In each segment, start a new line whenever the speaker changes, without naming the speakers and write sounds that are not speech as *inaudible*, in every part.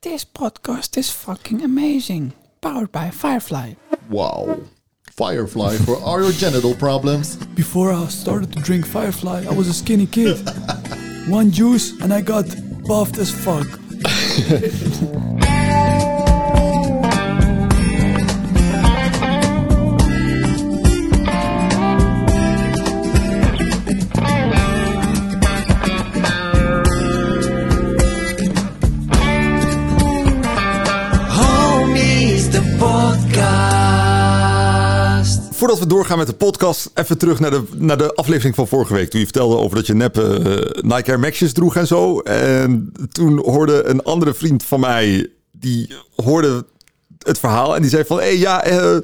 This podcast is fucking amazing. Powered by Firefly.
Wow. Firefly for all your genital problems.
Before I started to drink Firefly, I was a skinny kid. One juice and I got buffed as fuck.
Homies, de podcast.
Voordat we doorgaan met de podcast, even terug naar de, naar de aflevering van vorige week. Toen je vertelde over dat je neppe eh, Nike Air Maxjes droeg en zo. En toen hoorde een andere vriend van mij, die hoorde het verhaal en die zei van... Hé, hey, ja, eh,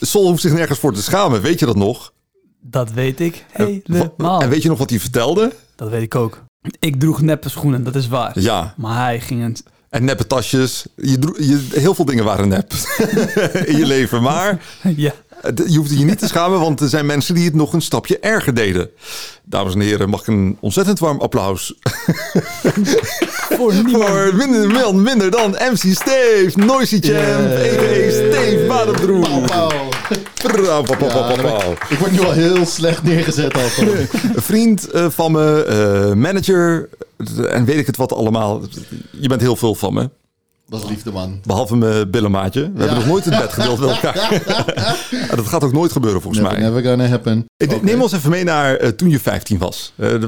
Sol hoeft zich nergens voor te schamen. Weet je dat nog?
Dat weet ik
Wa-
helemaal.
En weet je nog wat hij vertelde?
Dat weet ik ook. Ik droeg neppe schoenen, dat is waar.
Ja.
Maar hij ging een... *laughs*
En neppe tasjes. Je droeg- je, heel veel dingen waren nep *laughs* in je leven. Maar
Ja.
Het- Je hoeft je niet te schamen, want er zijn mensen die het nog een stapje erger deden. Dames en heren, mag ik een ontzettend warm applaus
Voor niemand.
voor minder, minder, minder dan MC Steve, Noisy Champ, a.k.a. Steve Badebroer.
Wauw.
Prauw, pauw, pauw,
Ja,
pauw,
dan ben
pauw.
ik, ik word nu al heel slecht neergezet al.
Een vriend eh, van me, eh, manager eh, en weet ik het wat allemaal. Je bent heel veel van me,
Dat is liefde, man.
behalve mijn billenmaatje. We hebben nog nooit in bed gedeeld met *laughs* elkaar. En dat gaat ook nooit gebeuren volgens mij.
Never, never gonna happen.
Ik- Neem ons even mee naar eh, toen je 15 was. Eh, d-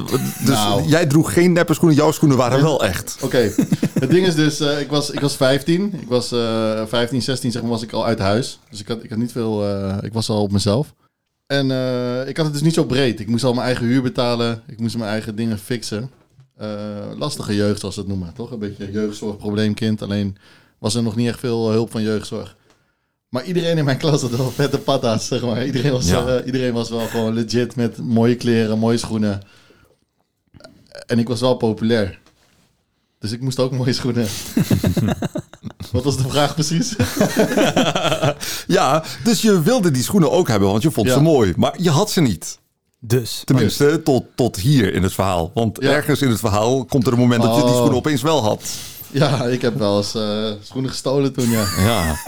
dus
Nou.
jij droeg geen neppe schoenen, jouw schoenen waren wel echt.
Oké, het ding is dus, eh, ik, was, ik was 15. Ik was eh 15, 16 zeg maar, was ik al uit huis. Dus ik had, ik had niet veel, eh, ik was al op mezelf. En eh, ik had het dus niet zo breed. Ik moest al mijn eigen huur betalen. Ik moest mijn eigen dingen fixen. Eh, lastige jeugd zoals ze het noemen, toch? Een beetje jeugdzorg, probleemkind. Alleen was er nog niet echt veel eh, hulp van jeugdzorg. Maar iedereen in mijn klas had wel vette patas, zeg maar. Iedereen was,
Ja.
eh, iedereen was wel gewoon legit met mooie kleren, mooie schoenen. En ik was wel populair. Dus ik moest ook mooie schoenen. Wat was de vraag precies?
Ja, dus je wilde die schoenen ook hebben, want je vond
Ja.
ze mooi. Maar je had ze niet.
Dus.
Tenminste, tot, tot hier in het verhaal. Want
Ja.
ergens in het verhaal komt er een moment dat je die
Oh.
schoenen opeens wel had.
ja, ik heb wel eens eh, schoenen gestolen toen, ja.
Ja,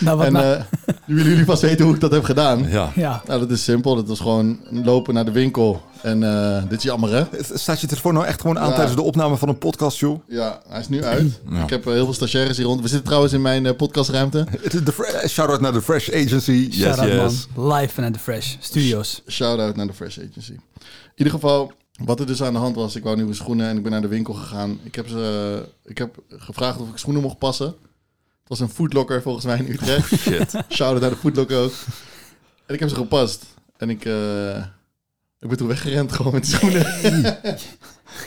Nou, wat
En
nou?
eh, *laughs* nu willen jullie vast weten hoe ik dat heb gedaan.
*laughs* ja.
ja.
Nou, dat is simpel. Dat was gewoon lopen naar de winkel. En eh, dit is jammer, hè?
Staat je telefoon nou echt gewoon aan
Ja.
tijdens de opname van een podcast, joh?
*clears throat* Ja, hij is nu uit.
Ja.
Ik heb eh, heel veel stagiaires hier rond. We zitten trouwens in mijn eh, podcastruimte.
De, de, fre- shout-out naar de Fresh Agency. Yes,
Shout-out,
yes.
man. Live vanuit de Fresh Studios.
Shout-out naar de Fresh Agency. In ieder geval, wat er dus aan de hand was, ik wou nieuwe schoenen en ik ben naar de winkel gegaan. Ik heb, ze, eh, ik heb gevraagd of ik schoenen mocht passen. Het was een foodlocker volgens mij in Utrecht. *laughs*
Shit.
Shout-out naar de foodlocker ook. En ik heb ze gepast. En ik, eh, ik ben toen weggerend gewoon met die schoenen.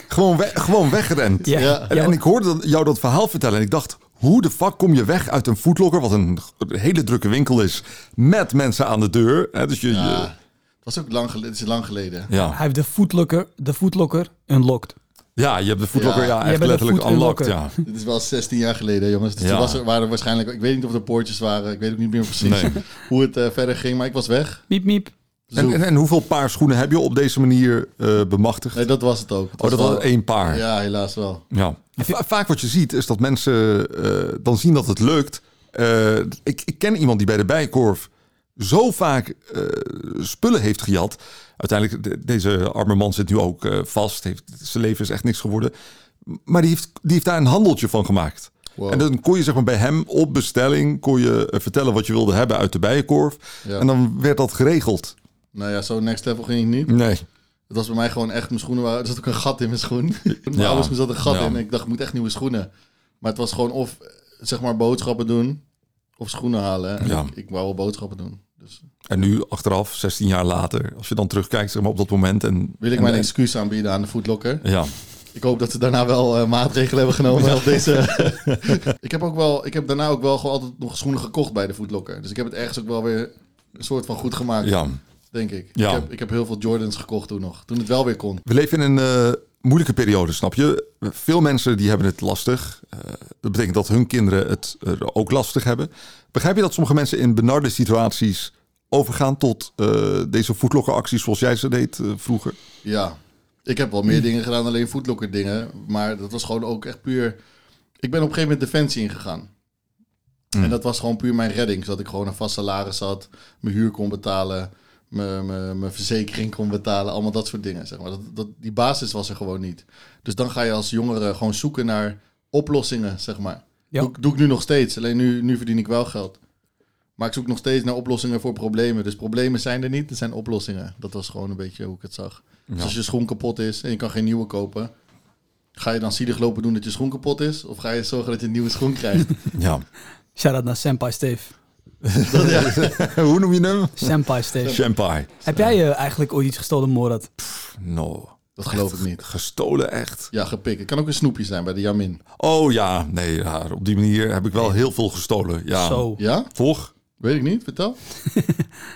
Gewoon, we- gewoon weggerend.
Ja.
Ja.
En, en ik hoorde dat- jou dat verhaal vertellen en ik dacht... hoe de fuck kom je weg uit een foodlocker... wat een g- hele drukke winkel is... met mensen aan de deur. Hè? Dus je, je-
Ja,
ja.
het was ook lang geleden. Het is lang geleden.
Ja.
Hij heeft de footlocker, de footlocker unlocked.
je hebt de foodlocker
Ja.
ja,
Je
echt
bent een
letterlijk
food
unlocked. Ja.
unlocker.
Dit is wel 16 jaar geleden, jongens. Dus
Ja.
toen was er, waren er waarschijnlijk... Ik weet niet of er poortjes waren. Ik weet ook niet meer precies
Nee.
*laughs* hoe het eh, verder ging. Maar ik was weg.
Miep, miep.
En, en, en hoeveel paar schoenen heb je op deze manier eh, bemachtigd?
Nee, dat was het ook. Het
oh, dat was
wel-
één paar. Ja.
Ja, helaas wel.
Va- vaak wat je ziet is dat mensen eh, dan zien dat het lukt. Eh, ik, ik ken iemand die bij de Bijenkorf zo vaak eh, spullen heeft gejat. Uiteindelijk, de- deze arme man zit nu ook eh, vast. Heeft, zijn leven is echt niks geworden. Maar die heeft, die heeft daar een handeltje van gemaakt.
Wow.
En dan kon je zeg maar, bij hem op bestelling kon je eh, vertellen wat je wilde hebben uit de bijenkorf.
Ja.
En dan werd dat geregeld.
Nou ja, zo next level ging ik niet.
Nee.
Het was bij mij gewoon echt, mijn schoenen waren... Er zat ook een gat in mijn schoen. *laughs* Mijn
Ja.
ouders, er zat een gat
Ja.
in. Ik dacht, ik moet echt nieuwe schoenen. Maar het was gewoon of, eh, zeg maar, boodschappen doen... of schoenen halen. En
Ja.
ik, ik wou wel boodschappen doen. Dus
En nu, achteraf, 16 jaar later, als je dan terugkijkt zeg maar, op dat moment. En,
wil ik
en-
mijn
en-
excuus aanbieden aan de foodlocker.
Ja.
Ik hoop dat ze daarna wel eh, maatregelen hebben genomen op deze.
*laughs*
ik heb ook wel, ik heb daarna ook wel gewoon altijd nog schoenen gekocht bij de Footlocker. Dus ik heb het ergens ook wel weer een soort van goed gemaakt,
ja.
denk ik.
Ja.
Ik, heb, ik heb heel veel Jordans gekocht toen nog, toen het wel weer kon.
We leven in een eh, moeilijke periode, snap je? Veel mensen die hebben het lastig. Eh, dat betekent dat hun kinderen het eh, ook lastig hebben. Begrijp je dat sommige mensen in benarde situaties overgaan tot eh, deze voetlokkeracties zoals jij ze deed eh, vroeger?
Ja, ik heb wel meer dingen gedaan, alleen Footlocker dingen. Maar dat was gewoon ook echt puur... Ik ben op een gegeven moment Defensie ingegaan. En dat was gewoon puur mijn redding. Zodat ik gewoon een vast salaris had, mijn huur kon betalen, mijn, mijn, mijn verzekering kon betalen. Allemaal dat soort dingen, zeg maar. Dat, dat, die basis was er gewoon niet. Dus dan ga je als jongere gewoon zoeken naar oplossingen, zeg maar.
Ja.
Doe, ik- doe ik nu nog steeds. Alleen nu, nu verdien ik wel geld. Maar ik zoek nog steeds naar oplossingen voor problemen. Dus problemen zijn er niet, er zijn oplossingen. Dat was gewoon een beetje hoe ik het zag. Dus als je schoen kapot is en je kan geen nieuwe kopen... Ga je dan zielig lopen doen dat je schoen kapot is? Of ga je zorgen dat je een nieuwe schoen krijgt?
Ja.
Shout-out naar Senpai Steve.
*laughs* Hoe noem je hem?
Senpai Steve.
Champai.
Heb jij eh, eigenlijk ooit iets gestolen, Morad?
No.
Dat geloof ik niet.
Gestolen echt.
Ja, gepikt. Het kan ook een snoepje zijn bij de Jamin.
Oh ja, nee, ja, op die manier heb ik wel heel veel gestolen. Ah. Ja.
Zo.
Ja?
Toch?
Weet ik niet. Vertel.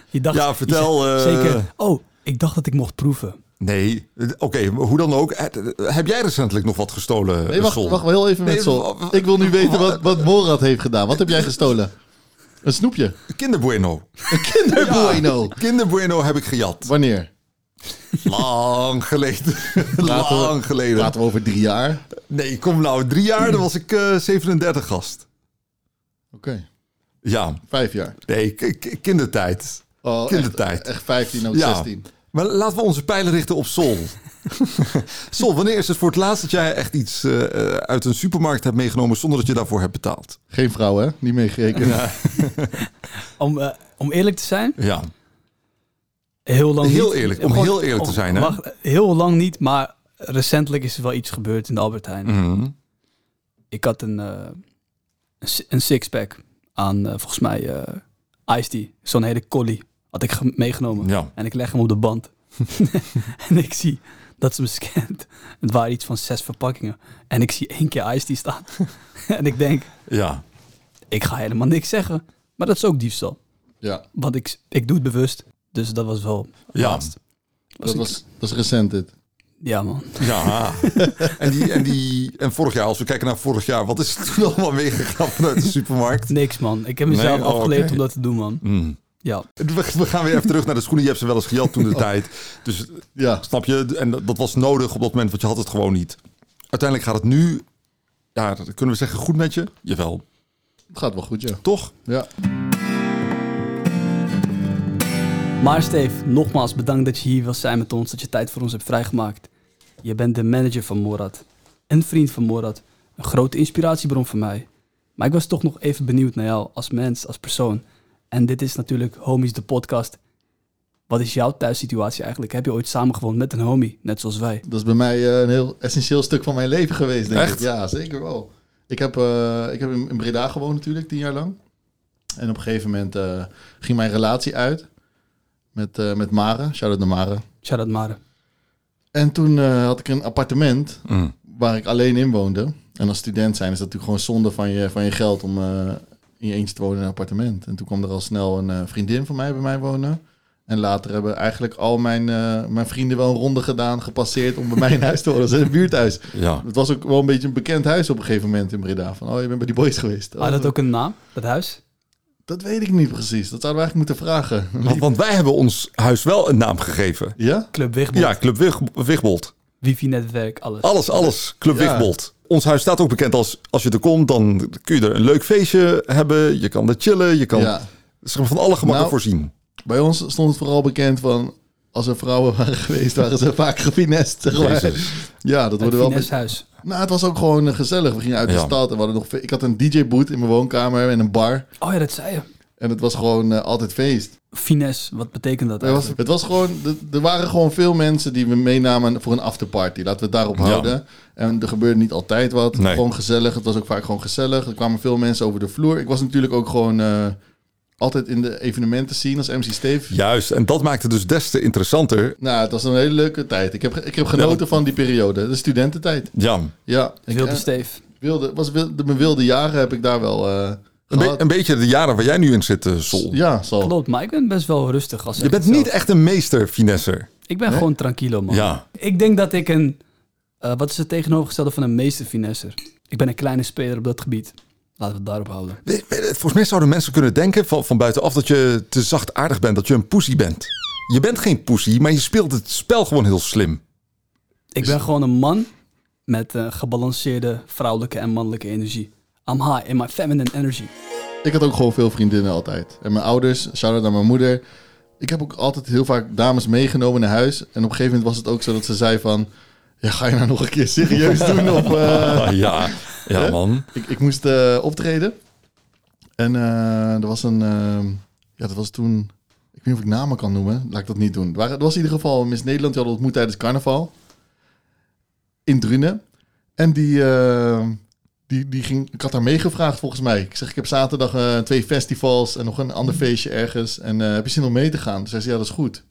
Je dacht,
Ja, vertel,
je
eh,
zei- zeker. Oh, ik dacht dat ik mocht proeven.
Nee. Eh, Oké, maar hoe dan ook. eh, Heb jij recentelijk nog wat gestolen?
Nee, wacht,
Sol?
wacht wel heel even
Nee,
met Sol.
w- w-
Ik wil nu weten wat, wat Morad heeft gedaan. Wat heb jij gestolen? Een snoepje.
Kinderbueno.
Bueno.
Kinderbueno heb ik gejat.
Wanneer?
Lang *laughs* geleden.
Laten we-
Lang geleden.
Laten we over drie jaar. Oké.
Nee, kom nou. Drie jaar, dan was ik eh, 37 gast. Ja.
Vijf jaar.
Nee, k- k- kindertijd.
Oh, echt-
Kindertijd.
Echt, 15 of
Ja.
16.
Maar laten we onze pijlen richten op *laughs* Sol. Sol, wanneer is het voor het laatst dat jij echt iets eh, eh, uit een supermarkt hebt meegenomen zonder dat je daarvoor hebt betaald?
Geen vrouw, hè? Niet meegerekend.
Om, eh, om eerlijk te zijn,
Ja.
heel lang
Heel
niet.
eerlijk, om heel eerlijk te zijn, hè?
wacht, heel lang niet, maar recentelijk is er wel iets gebeurd in de Albert Heijn.
Mhm.
Ik had een, eh, een si- een sixpack aan, eh, volgens mij, eh Ice Tea. Zo'n hele collie had ik ge- meegenomen.
Ja.
En ik leg hem op de
*laughs*
band. *laughs* en ik zie dat ze me scant. Het waren iets van zes verpakkingen. En ik zie één keer Ice Tea staan. *laughs* en ik denk,
Ja.
ik ga helemaal niks zeggen. Maar dat is ook diefstal.
Ja.
Want ik, ik doe het bewust. Dus dat was wel
Ja.
laatst.
Dat,
ik-
was, dat is recent dit.
Ja, man.
Ja. *laughs* en, die, en, die, en vorig jaar, als we kijken naar vorig jaar, wat is er toen allemaal meegegaan vanuit de supermarkt?
Niks, man. Ik heb mezelf
Nee? Oh,
afgeleerd
oké.
om dat te doen, man.
Mm.
Ja.
We, we gaan weer even terug naar de schoenen. Je hebt ze wel eens
*laughs*
gejat toen de
Oh.
tijd. Dus
Ja.
Snap je? En dat, dat was nodig op dat moment, want je had het gewoon niet. Uiteindelijk gaat het nu, ja, dat kunnen we zeggen, goed met je? Jawel.
Het gaat wel goed, ja.
Toch?
Ja.
Maar Steve, nogmaals bedankt dat je hier wilt zijn met ons. Dat je tijd voor ons hebt vrijgemaakt. Je bent de manager van Morad. Een vriend van Morad. Een grote inspiratiebron voor mij. Maar ik was toch nog even benieuwd naar jou als mens, als persoon. En dit is natuurlijk Homies de podcast. Wat is jouw thuissituatie eigenlijk? Heb je ooit samengewoond met een homie, net zoals wij?
Dat is bij mij eh, een heel essentieel stuk van mijn leven geweest, denk ik.
Echt?
Ja, zeker wel. Ik heb, eh, ik heb in, in Breda gewoond natuurlijk, tien jaar lang. En op een gegeven moment eh, ging mijn relatie uit met, eh, met Mare. Shout-out naar Mare.
Shout-out Mare.
En toen eh, had ik een appartement
Mm.
waar ik alleen in woonde. En als student zijn is dat natuurlijk gewoon zonde van je, van je geld om eh, in je eentje te wonen in een appartement. En toen kwam er al snel een eh, vriendin van mij bij mij wonen. En later hebben eigenlijk al mijn, eh, mijn vrienden wel een ronde gedaan, gepasseerd om bij mij in huis te wonen. Dat is een buurthuis.
Ja.
Het was ook wel een beetje een bekend huis op een gegeven moment in Breda. Van, oh, je bent bij die boys geweest.
Had
Oh,
Ah, dat ook een naam, dat huis?
dat weet ik niet precies. Dat zouden we eigenlijk moeten vragen.
Want, want wij hebben ons huis wel een naam gegeven.
Ja?
Club Wigmond,
Ja, Club Wig, Wigbold.
wifi-netwerk, alles.
Alles, alles. Club
Ja.
Wigbold. Ons huis staat ook bekend als, als je er komt, dan kun je er een leuk feestje hebben. Je kan er chillen, je kan
Ja.
zeg maar, van alle gemakken
Nou. *laughs*
voorzien.
Bij ons stond het vooral bekend van... Als er vrouwen waren *laughs* geweest, waren ze vaak gefinest. zeg maar.
Jezus.
Ja, dat
Het
worden wel...
fineshuis.
Nou, het was ook gewoon eh, gezellig. We gingen uit de
Ja.
stad en we hadden nog... Ik had een DJ-boot in mijn woonkamer en een bar.
Oh ja, dat zei je.
En het was gewoon eh, altijd feest.
Finesse, wat betekent dat
Het was,
eigenlijk?
het was gewoon, er- er waren gewoon veel mensen die we meenamen voor een afterparty. Laten we het daarop
Ja.
houden. En er gebeurde niet altijd wat.
Nee.
Gewoon gezellig. Het was ook vaak gewoon gezellig. Er kwamen veel mensen over de vloer. Ik was natuurlijk ook gewoon eh, altijd in de evenementen zien als MC Steve.
Juist, en dat maakte dus des te interessanter.
Nou, het was een hele leuke tijd. Ik heb, ik heb genoten
Ja.
van die periode. De studententijd.
Ja,
Ja. Ik,
Wilde
eh,
Steef.
wilde, was wilde, mijn wilde jaren heb ik daar wel eh,
een, be-
gehad.
een beetje de jaren waar jij nu in zit, eh, Sol.
Ja, zo.
Klopt, maar ik ben best wel rustig als
Je
ik
bent
het
niet
zelf-
echt een meester finesser.
Ik ben gewoon tranquilo, man.
Ja.
Ik denk dat ik een... eh, wat is het tegenovergestelde van een meester finesser? Ik ben een kleine speler op dat gebied. Laten we het daarop houden.
We- we- Volgens mij zouden mensen kunnen denken van, van buitenaf dat je te zachtaardig bent, dat je een poesie bent. Je bent geen poesie, maar je speelt het spel gewoon heel slim.
Ik ben gewoon een man met eh, gebalanceerde vrouwelijke en mannelijke energie. I'm high in my feminine energy. *laughs*
Ik had ook gewoon veel vriendinnen altijd. En mijn ouders, shout-out naar mijn moeder. Ik heb ook altijd heel vaak dames meegenomen naar huis. En op een gegeven moment was het ook zo dat ze zei van... Ja, ga je nou nog een keer serieus doen? Of, eh,
Ah, *laughs* ja. ja,
Hè?
man.
ik, ik moest eh, optreden. En eh, er was een... eh, ja, dat was toen... Ik weet niet of ik namen kan noemen. Laat ik dat niet doen. Er waren- Er was in ieder geval een Miss Nederland. Die hadden ontmoet tijdens carnaval. In Drunen. En die... eh, die, die ging, ik had haar meegevraagd volgens mij. Ik zeg, ik heb zaterdag eh, twee festivals en nog een ander feestje ergens. En eh, heb je zin om mee te gaan? Toen zei ze, ja, dat is goed.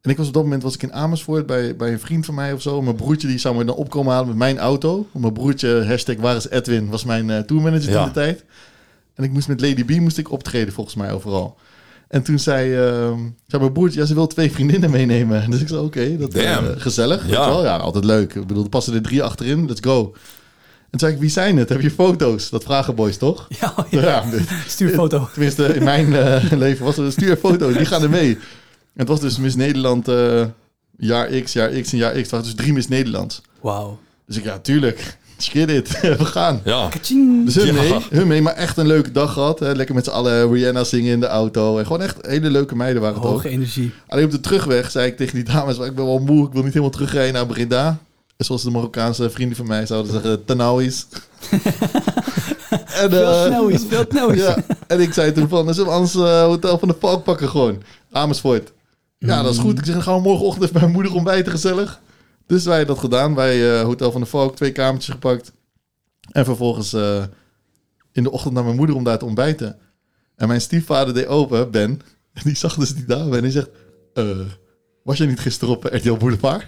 En ik was op dat moment was ik in Amersfoort bij, bij een vriend van mij of zo. Mijn broertje die zou me dan opkomen halen met mijn auto. Want Mijn broertje, hashtag waar is Edwin, was mijn eh, tourmanager
Ja.
in de tijd. En ik moest met Lady B moest ik optreden volgens mij overal. En toen zei, eh, zei mijn broertje, ja, ze wil twee vriendinnen meenemen. *laughs* Dus ik zei, oké, dat eh,
Damn.
gezellig.
Ja.
Ja. Wel? ja, altijd leuk. Ik bedoel, er passen er drie achterin, let's go. En toen zei ik, wie zijn het? Heb je foto's? Dat vragen boys toch?
Ja, oh ja.
Ja, dit-
stuur foto.
tenminste in mijn eh, *laughs* leven was het stuur foto's, die gaan er mee. En het was dus Miss Nederland eh, jaar X, jaar X en jaar X. Het waren dus drie Miss Nederlands.
Wauw.
Dus ik, ja, tuurlijk, skid it, *laughs* we gaan.
Ja.
Kaching.
Dus hun,
Ja.
mee, hun mee, maar echt een leuke dag gehad. Hè. Lekker met z'n allen Rihanna zingen in de auto. En gewoon echt hele leuke meiden waren het ook.
Hoge energie.
Alleen op de terugweg zei ik tegen die dames, ik ben wel moe, ik wil niet helemaal terugrijden naar Breda. En Zoals de Marokkaanse vrienden van mij zouden
*laughs*
zeggen, Tanawis. en,
Veel
eh,
snelheid, veel snelheid.
ja, en ik zei toen van, zullen we anders eh, Hotel van de Valk pakken gewoon? Amersfoort. Ja, dat is goed. Ik zeg, dan gaan we morgenochtend even bij mijn moeder ontbijten, gezellig. Dus wij hebben dat gedaan. Wij eh, Hotel van de Valk, twee kamertjes gepakt. En vervolgens eh, in de ochtend naar mijn moeder om daar te ontbijten. En mijn stiefvader deed open, Ben. *laughs* En die zag dus die dame en die zegt... eh, was jij niet gisteren op RTL Boulevard?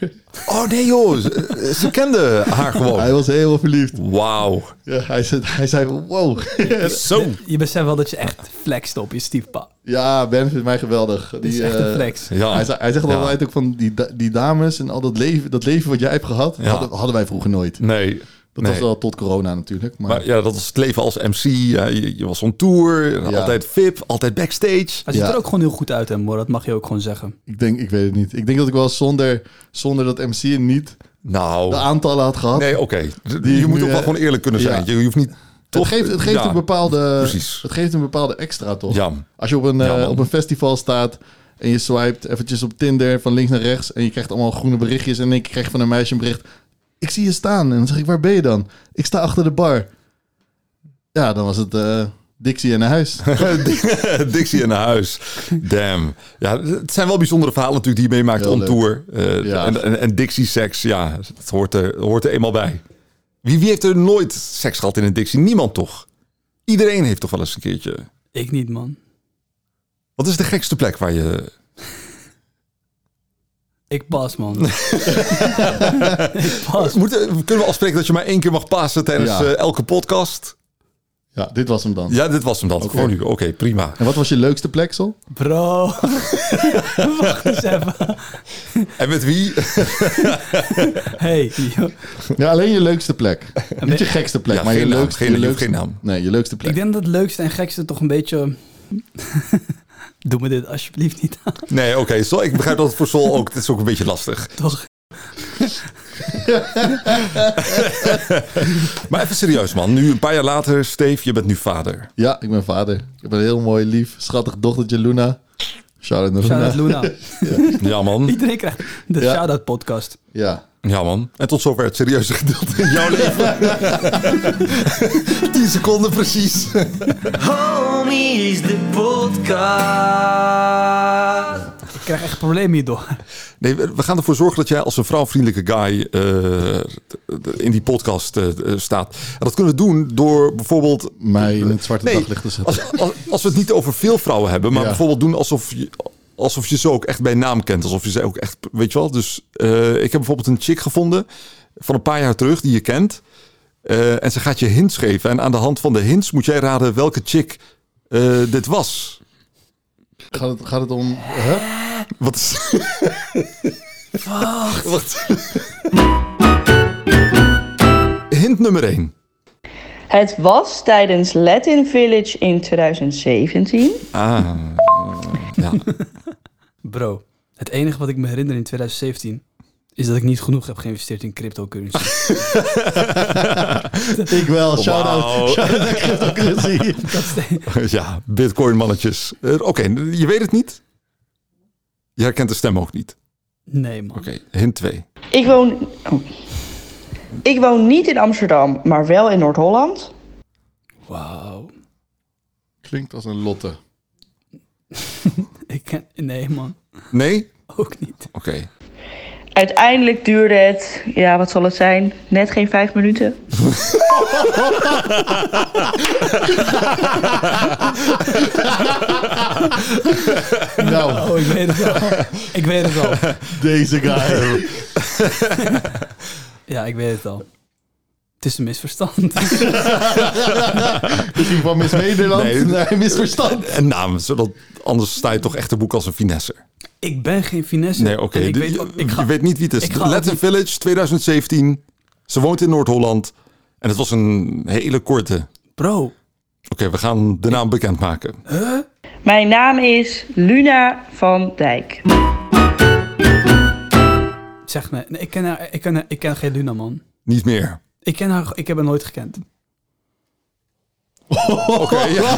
Oh nee joh, ze, eh, ze kende haar
Hij
Oh.
gewoon.
was helemaal verliefd.
Wauw.
Ja, hij, zei, hij zei van, wow. *laughs*
Zo.
Je beseft wel dat je echt flext op je stiefpa.
ja, Ben vindt mij geweldig.
Dit is
Die,
echt een
eh,
flex.
Ja.
Hij, zei- hij zegt
Oh. Ja.
altijd ook van die, da- die dames en al dat leven, dat leven wat jij hebt gehad,
Ja.
hadden, hadden wij vroeger nooit.
Nee.
Dat
nee.
was wel tot corona natuurlijk. Maar,
Maar ja, dat was het leven als MC. Ja, je, je was on tour, en
Ja.
altijd VIP, altijd backstage.
Hij ziet
Ja.
er ook gewoon heel goed uit, hè, Mor. Dat mag je ook gewoon zeggen.
ik denk, ik weet het niet. Ik denk dat ik wel zonder, zonder dat MC niet de
Nou,
aantallen had gehad.
nee, oké. Je,
Die ik
moet
nu,
ook wel
eh,
gewoon eerlijk kunnen zijn.
ja.
Je, je hoeft niet...
het geeft, het geeft
ja,
een bepaalde,
precies.
het geeft een bepaalde extra toch?
Ja.
Als je op een,
Ja,
eh,
man.
op een festival staat en je swipet eventjes op Tinder van links naar rechts en je krijgt allemaal groene berichtjes en ik krijg van een meisje een bericht. Ik zie je staan en dan zeg ik, waar ben je dan? Ik sta achter de bar. Ja, dan was het eh, Dixie en naar huis.
*laughs* Dixie in huis. Damn. Ja, het zijn wel bijzondere verhalen natuurlijk die je meemaakt
Heel
on
leuk.
tour. Eh,
Ja.
En, en, en Dixie seks, ja, dat hoort er, hoort er eenmaal bij. Wie, wie heeft er nooit seks gehad in een Dixie? Niemand toch? Iedereen heeft toch wel eens een keertje.
Ik niet, man.
Wat is de gekste plek waar je...
Ik pas,
*laughs*
man. ik pas.
Moeten, eh, kunnen we afspreken dat je maar één keer mag passen tijdens
Ja.
eh, elke podcast?
Ja, dit was hem dan.
Ja, dit was hem dan. Voor nu. Oké, prima.
En wat was je leukste plek, Sol?
Bro. *laughs* Wacht eens even.
En met wie?
Hey. joh.
Ja, alleen je leukste
*laughs*
plek. Niet je gekste plek,
Ja,
maar
geen
je
naam,
leukste,
geen-
je
je hoeft
leukste-
geen naam.
Nee, je leukste
Ik
plek.
denk dat het leukste en gekste toch een beetje... *laughs* Doe me dit alsjeblieft niet aan,
Nee, oké. Sol, ik begrijp dat het voor Sol ook... Het is ook een beetje lastig.
toch?
Maar even serieus, man. Nu, een paar jaar later, Steve, je bent nu vader.
Ja, ik ben vader. Ik heb een heel mooi, lief, schattig dochtertje Luna. Shout-out naar
Shout-out
Luna.
Luna.
Ja, man.
Iedereen krijgt de
Ja.
shout-out podcast.
*laughs* Ja.
Ja, man. En tot zover het serieuze gedeelte in jouw leven. 10 seconden precies.
Homies de podcast.
Ik krijg echt problemen hierdoor.
Nee, we we gaan ervoor zorgen dat jij als een vrouwvriendelijke guy eh, t- t- in die podcast eh, eh, staat. En dat kunnen we doen door bijvoorbeeld...
*laughs* Mij in het zwarte
Nee,
daglicht te zetten.
Als, als, als we het niet over veel vrouwen hebben, maar
Ja.
bijvoorbeeld doen alsof je, alsof je ze ook echt bij naam kent. Alsof je ze ook echt, weet je wel. Dus eh, ik heb bijvoorbeeld een chick gevonden van een paar jaar terug die je kent. Eh, en ze gaat je hints geven. En aan de hand van de hints moet jij raden welke chick eh, dit was.
Gaat het, gaat het om... Huh?
Wat is... Wacht. Hint nummer 1.
Het was tijdens Latin Village in 2017.
Ah, ja.
Bro, het enige wat ik me herinner in 2017 is is dat ik niet genoeg heb geïnvesteerd in
*laughs*
cryptocurrency.
Ik wel,
Wauw.
shout-out. Shout-out naar cryptocurrency.
*laughs* ja, bitcoin mannetjes. Eh, Oké, je weet het niet. Je herkent de stem ook niet.
nee, man.
Oké, hint 2.
Ik woon. oh. Ik woon niet in Amsterdam, maar wel in Noord-Holland.
Wauw.
*laughs* Klinkt als een lotte.
Ik ken... Nee, man.
Nee?
Ook niet.
Oké.
Uiteindelijk duurde het, ja, wat zal het zijn? Net geen vijf minuten.
Nou,
*laughs* Oh, ik weet
*laughs*
het al. ik weet het al.
Nou, deze guy.
Ja, ik weet het al. Het is een
*laughs*
misverstand.
Misschien van Miss Nederland.
Nee.
Nee,
*laughs*
misverstand.
En naam, zodat anders sta je toch echt te boek als een finesser.
ik ben geen finesse.
Nee, oké.
En Ik
de-
weet,
je,
ook- ik ga,
je weet niet wie het is.
ik ga ook
Let's
niet-
Village 2017. Ze woont in Noord-Holland. En het was een hele korte. Oké,
Bro,
we gaan de naam bekendmaken.
Mijn naam is Luna van Dijk.
zeg me. Nee, ik, ken haar, ik, ken haar- ik ken geen Luna, man.
Niet meer.
Ik ken haar, ik heb haar nooit gekend.
Oké, ja.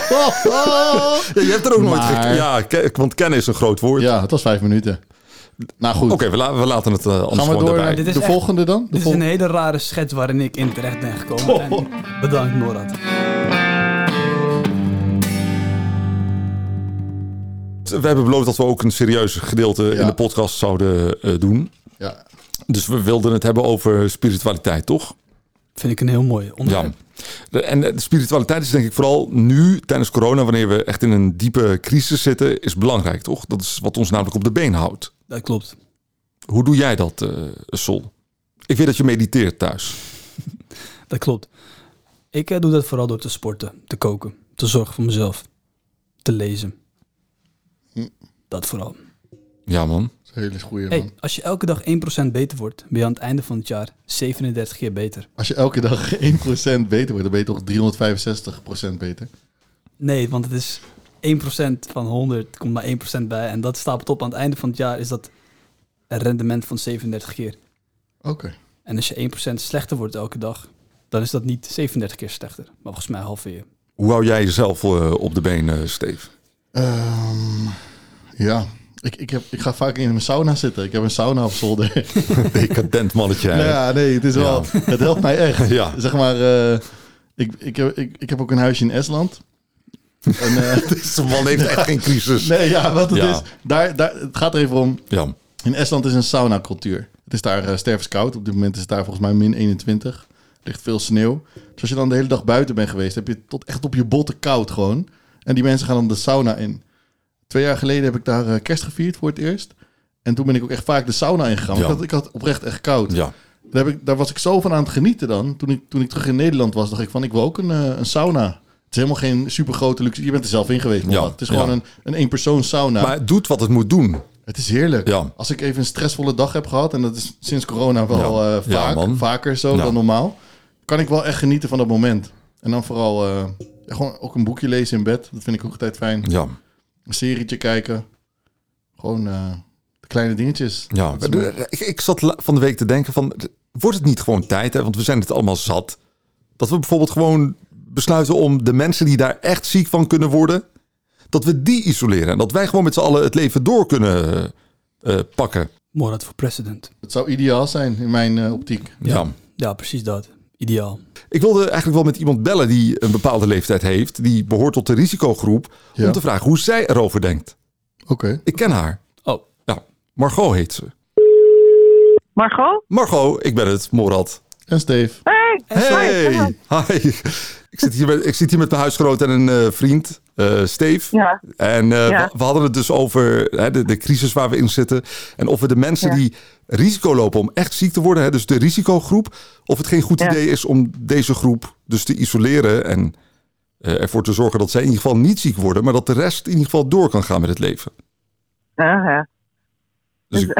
*laughs*
Ja, je hebt er ook nooit
Maar-
gek- Ja, ke- want kennen is een groot woord.
Ja, het was vijf minuten. Nou goed,
Oké, we, la- we laten het eh, anders
gaan we
gewoon
door
daarbij.
naar
Dit is
de
echt-
volgende dan? De
Dit is een
volgende.
hele rare schets waarin ik in terecht ben gekomen.
Oh.
En bedankt, Morad.
We hebben beloofd dat we ook een serieus gedeelte in de podcast zouden eh, doen.
Ja.
Dus we wilden het hebben over spiritualiteit, toch?
Vind ik een heel mooie
Ja.
onderwerp.
De- En eh, de spiritualiteit is denk ik vooral nu, tijdens corona, wanneer we echt in een diepe crisis zitten, is belangrijk, toch? Dat is wat ons namelijk op de been houdt.
Dat klopt.
Hoe doe jij dat, eh, Sol? Ik weet dat je mediteert thuis.
Dat klopt. Ik eh, doe dat vooral door te sporten, te koken, te zorgen voor mezelf, te lezen. Dat vooral.
Ja, man.
Dat is een hele goeie man.
Hey, als je elke dag 1% beter wordt, ben je aan het einde van het jaar 37 keer beter.
Als je elke dag *laughs* 1% beter wordt, dan ben je toch 365% beter.
Nee, want het is 1% van 100 komt maar 1% bij. En dat stapelt op aan het einde van het jaar is dat een rendement van 37 keer.
Oké.
En als je 1% slechter wordt elke dag, dan is dat niet 37 keer slechter. Maar volgens mij halveer.
Hoe hou jij jezelf eh, op de been, eh, Steve?
Ehm, ja, ik, ik, heb, ik ga vaak in mijn sauna zitten. Ik heb een sauna op zolder.
Decadent mannetje. hè?
Nou ja, nee, het is wel. Het helpt mij echt.
Ja.
Zeg maar, eh, ik, ik, heb- ik, ik heb ook een huisje in Estland. En, eh, *laughs*
Deze man heeft echt geen crisis.
nee, ja, wat het
Ja.
is. Daar, daar, het gaat er even om.
Ja.
In Estland is een sauna cultuur. Het is daar eh, stervenskoud. Op dit moment is het daar volgens mij min 21. Er ligt veel sneeuw. Dus als je dan de hele dag buiten bent geweest, heb je het tot echt op je botten koud gewoon. En die mensen gaan dan de sauna in. Twee jaar geleden heb ik daar eh, kerst gevierd voor het eerst. En toen ben ik ook echt vaak de sauna ingegaan.
Ja.
Ik, had, ik had oprecht echt koud.
ja.
Daar, heb ik, daar was ik zo van aan het genieten dan. Toen ik, toen ik terug in Nederland was, dacht ik van ik wil ook een, eh, een sauna. Het is helemaal geen supergrote luxe. Je bent er zelf in geweest.
Ja,
Ja, het is
ja.
gewoon een, een eenpersoons sauna.
Maar het doet wat het moet doen.
Het is heerlijk.
Ja.
Als ik even een stressvolle dag heb gehad, en dat is sinds corona wel
Ja.
eh, vaak,
Ja, man. Nou.
vaker zo
Ja.
dan normaal, kan ik wel echt genieten van dat moment. En dan vooral eh, ja, gewoon ook een boekje lezen in bed. Dat vind ik ook altijd fijn.
Ja.
Een serietje kijken. Gewoon eh, de kleine dingetjes.
Ja,
Dat is mooi.
ik, ik zat la- van de week te denken van, wordt het niet gewoon tijd, hè? want we zijn het allemaal zat, dat we bijvoorbeeld gewoon besluiten om de mensen die daar echt ziek van kunnen worden, dat we die isoleren. En dat wij gewoon met z'n allen het leven door kunnen eh, eh, pakken.
Morad voor president.
Het zou ideaal zijn in mijn eh, optiek.
Ja.
Ja, precies dat. Ideaal.
Ik wilde eigenlijk wel met iemand bellen die een bepaalde leeftijd heeft, die behoort tot de risicogroep,
Ja.
om te vragen hoe zij erover denkt.
Oké.
Ik ken haar.
Oh,
Ja, Margot heet ze.
Margot?
Margot, ik ben het, Morad.
En Steve.
Hey!
Hey, hi. Ik zit hier met, ik zit hier met mijn huisgenoot en een eh, vriend, eh, Steve.
Ja.
En eh,
Ja.
we, we hadden het dus over hè, de, de crisis waar we in zitten. En of we de mensen die risico lopen om echt ziek te worden, hè, dus de risicogroep, of het geen goed
Ja.
idee is om deze groep dus te isoleren en eh, ervoor te zorgen dat zij in ieder geval niet ziek worden, maar dat de rest in ieder geval door kan gaan met het leven.
Ja, ja.
Dus ik-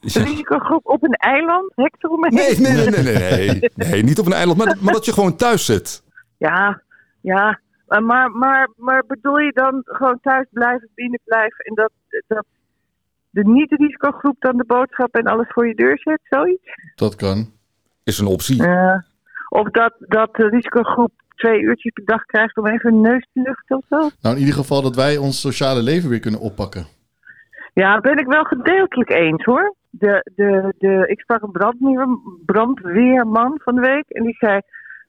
De
Ja.
risicogroep op een eiland, hek eromheen.
Nee, nee, nee, nee, nee, nee. Nee, niet op een eiland, maar, maar dat je gewoon thuis zit.
Ja, ja. Eh, Maar, maar, maar bedoel je dan gewoon thuis blijven, binnen blijven en dat, dat de niet-risicogroep dan de boodschap en alles voor je deur zet, zoiets?
Dat kan.
Is een optie.
Eh, of dat, dat de risicogroep twee uurtjes per dag krijgt om even hun neus te luchten of zo?
Nou, in ieder geval dat wij ons sociale leven weer kunnen oppakken.
Ja, dat ben ik wel gedeeltelijk eens hoor. De, de, de, ik sprak een brandweer, brandweerman van de week en die zei: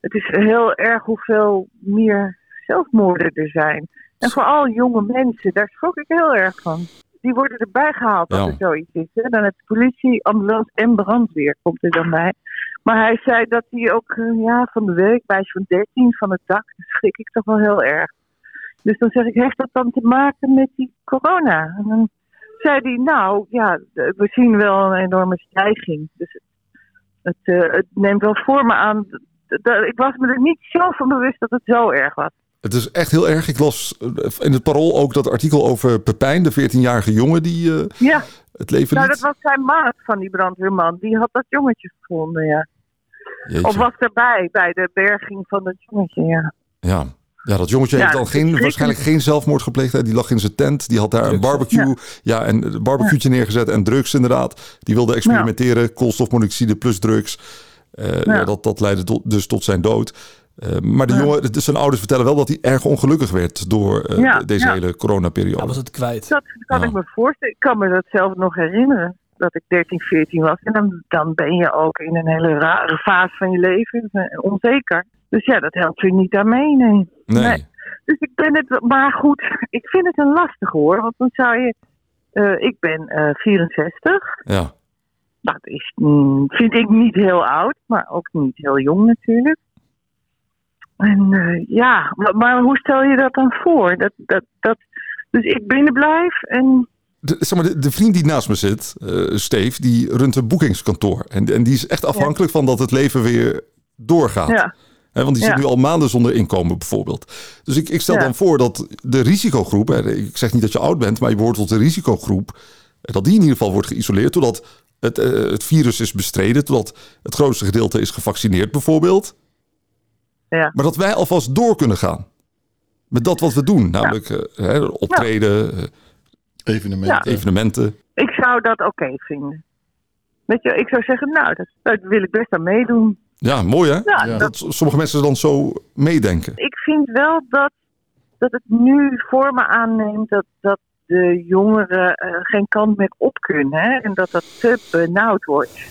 Het is heel erg hoeveel meer zelfmoorden er zijn. En vooral jonge mensen, daar schrok ik heel erg van. Die worden erbij gehaald als
Ja.
er zoiets is. Hè? Dan heb je politie, ambulance en brandweer komt er dan bij. Maar hij zei dat hij ook eh, ja, van de week, meisje van 13 van het dak, daar schrik ik toch wel heel erg. Dus dan zeg ik, heeft dat dan te maken met die corona? En dan zei hij, nou ja, we zien wel een enorme stijging. Dus het, het, eh, het neemt wel voor me aan. d- d- Ik was me er niet zo van bewust dat het zo erg was.
Het is echt heel erg. Ik las eh, in het parool ook dat artikel over Pepijn, de 14-jarige jongen die eh,
Ja,
het leven
nou
liet.
dat was zijn maat van die brandweerman. Die had dat jongetje gevonden, ja.
Jeetje.
Of was erbij, bij de berging van dat jongetje, ja.
Ja. ja, dat jongetje
Ja,
heeft dan
dat is
geen,
verschrikkelijk.
waarschijnlijk geen zelfmoord gepleegd. hè. Die lag in zijn tent, die had daar een barbecue. Ja, en een barbecue'tje neergezet en drugs inderdaad. Die wilde experimenteren, koolstofmonoxide plus drugs. Eh, ja, dat, dat leidde tot- dus tot zijn dood. Eh, maar de jongen, dus zijn ouders vertellen wel dat hij erg ongelukkig werd door eh,
Ja,
deze
ja.
hele coronaperiode.
Hij was het kwijt.
Dat kan
Ja.
ik me voorstellen. Ik kan me dat zelf nog herinneren. Dat ik 13, 14 was. En dan, dan ben je ook in een hele rare fase van je leven. eh, Onzeker. Dus ja, dat helpt je niet aan mee. Nee.
nee.
nee. Dus ik ben het, maar goed, ik vind het een lastige hoor. Want dan zou je, eh, ik ben eh 64.
Ja.
Dat is, mm, vind ik niet heel oud, maar ook niet heel jong natuurlijk. En eh, ja, maar, maar hoe stel je dat dan voor? Dat, dat, dat, dus ik binnen blijf en
De, zeg maar, de, de vriend die naast me zit, eh Steve, die runt een boekingskantoor. En, en die is echt afhankelijk van dat het leven weer doorgaat.
ja.
Hè, want die zit
Ja.
nu al maanden zonder inkomen bijvoorbeeld. Dus ik, ik stel
Ja.
dan voor dat de risicogroep, hè, ik zeg niet dat je oud bent, maar je behoort tot de risicogroep, eh, dat die in ieder geval wordt geïsoleerd totdat het, eh, het virus is bestreden, totdat het grootste gedeelte is gevaccineerd bijvoorbeeld.
Ja.
Maar dat wij alvast door kunnen gaan met dat wat we doen, namelijk eh, hè, optreden, eh,
Evenementen.
Ja.
evenementen.
Ik zou dat oké vinden. Weet je, ik zou zeggen, nou, dat, dat wil ik best aan meedoen.
Ja, mooi hè?
Ja,
Ja.
Dat,
dat sommige mensen dan zo meedenken.
ik vind wel dat, dat het nu voor me aanneemt dat, dat de jongeren eh, geen kant meer op kunnen. Hè? En dat dat te benauwd wordt.
Dus-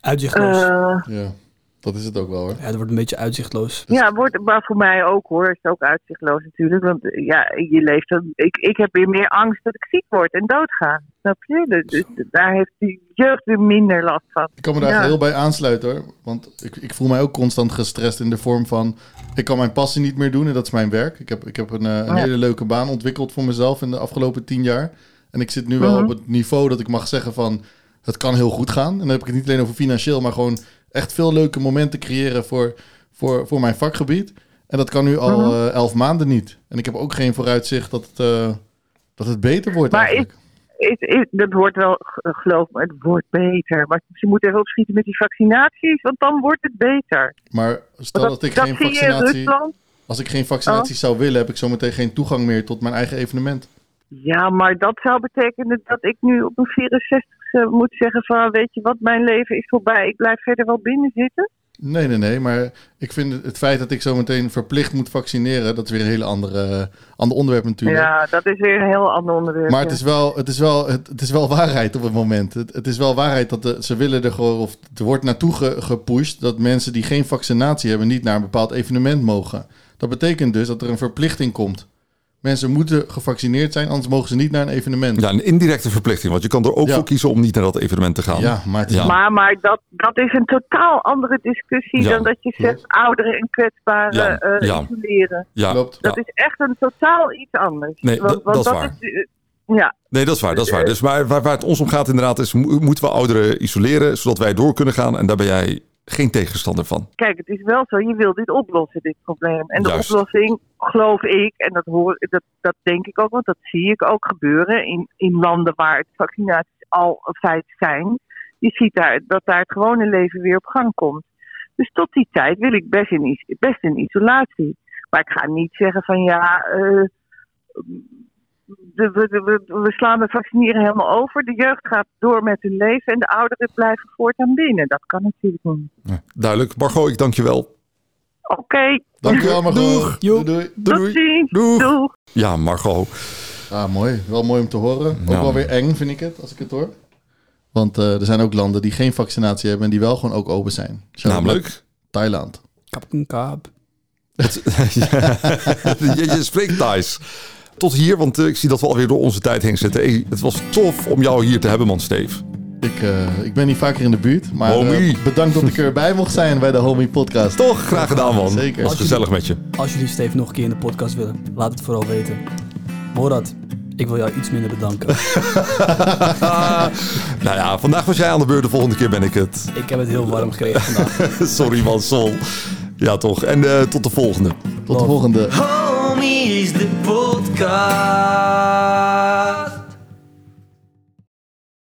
Uitzichtloos.
Eh,
Ja, dat is het ook wel hoor.
ja, dat wordt een beetje uitzichtloos.
ja, wordt, maar voor mij ook hoor. Is het ook uitzichtloos natuurlijk. Want eh, ja, je leeft dan. Ik, ik heb weer meer angst dat ik ziek word en doodga. Snap je? Dus, dus daar heeft de jeugd weer minder last van.
Ik kan me daar
Ja.
heel bij aansluiten hoor. Want ik, ik voel mij ook constant gestrest in de vorm van... Ik kan mijn passie niet meer doen en dat is mijn werk. Ik heb, ik heb een, eh, een
Ja.
hele leuke baan ontwikkeld voor mezelf in de afgelopen tien jaar. En ik zit nu
Mhm.
wel op het niveau dat ik mag zeggen van... Het kan heel goed gaan. En dan heb ik het niet alleen over financieel... maar gewoon echt veel leuke momenten creëren voor, voor, voor mijn vakgebied. En dat kan nu al
Mhm.
eh, elf maanden niet. En ik heb ook geen vooruitzicht dat het, eh, dat het beter wordt
Maar
eigenlijk.
Is, is- dat wordt wel, g- eh, geloof me, het wordt beter. Maar ze moeten even opschieten met die vaccinaties, want dan wordt het beter.
Maar stel
Want
dat, ik geen
zie je in
vaccinatie...
Rusland.
Als ik geen vaccinatie zou willen, heb ik zometeen geen toegang meer tot mijn eigen evenement.
Ja, maar dat zou betekenen dat ik nu op mijn 64 e moet zeggen van, weet je wat, mijn leven is voorbij. Ik blijf verder wel binnen zitten.
Nee, nee, nee. Maar ik vind het- het feit dat ik zometeen verplicht moet vaccineren, dat is weer een hele andere, eh, ander onderwerp natuurlijk.
Ja, dat is weer een heel ander onderwerp.
Maar
ja.
het is, wel, het, is wel, het, het is wel waarheid op het moment. Het, het is wel waarheid dat de- ze willen er gewoon, of er wordt naartoe ge- gepusht dat mensen die geen vaccinatie hebben niet naar een bepaald evenement mogen. Dat betekent dus dat er een verplichting komt. Mensen moeten gevaccineerd zijn, anders mogen ze niet naar een evenement.
Ja, een indirecte verplichting. Want je kan er ook
Ja.
voor kiezen om niet naar dat evenement te gaan.
Ja, maar het is-
Ja.
Maar, maar dat, dat is een totaal andere discussie
Ja,
dan dat je zegt ouderen en kwetsbaren
Ja,
eh
ja.
isoleren.
Ja.
Klopt.
Dat is echt een totaal iets anders.
Nee, dat- dat is waar.
eh, ja,
Nee, dat is waar. Dat is waar. Dus waar, waar, waar het ons om gaat inderdaad is... mo- moeten we ouderen isoleren, zodat wij door kunnen gaan. En daar ben jij geen tegenstander van.
kijk, het is wel zo, je wil dit oplossen, dit probleem. En de
Juist.
oplossing, geloof ik, en dat, hoor, dat, dat denk ik ook, want dat zie ik ook gebeuren in, in landen waar het vaccinaties al een feit zijn. Je ziet daar, dat daar het gewone leven weer op gang komt. Dus tot die tijd wil ik best in, is- best in isolatie. Maar ik ga niet zeggen van ja, eh, de- we, de- we, we slaan het vaccineren helemaal over. De jeugd gaat door met hun leven en de ouderen blijven voortaan binnen. Dat kan natuurlijk niet.
Duidelijk. Margot, ik dank je wel.
Oké,
Dankjewel, Margot.
Doeg.
Doei, doei.
Doei.
tot ziens.
Doeg.
Doeg.
Ja, Margot.
Ah, mooi. Wel mooi om te horen.
Ja.
Ook wel weer eng, vind ik het, als ik het hoor. Want eh, er zijn ook landen die geen vaccinatie hebben en die wel gewoon ook open zijn. Zo
*laughs* Namelijk.
Thailand.
Kapken kaap.
je, je spreekt Thais. Tot hier, want eh, ik zie dat we alweer door onze tijd heen zitten. Hey, het was tof om jou hier te hebben, man, Steve.
Ik, eh, ik ben niet vaker in de buurt, maar eh,
Homie.
bedankt dat ik erbij mocht zijn bij de Homie Podcast.
Toch? Graag gedaan, man.
Zeker.
Was gezellig met je.
Als jullie Steve nog een keer in de podcast willen, laat het vooral weten. Morat, ik wil jou iets minder bedanken.
Nou ja, vandaag was jij aan de beurt. De volgende keer ben ik het. *laughs*
ik heb het heel warm gekregen vandaag.
Sorry, man, Sol. Ja, toch. En eh, tot de volgende.
Tot de volgende.
Homies, the podcast.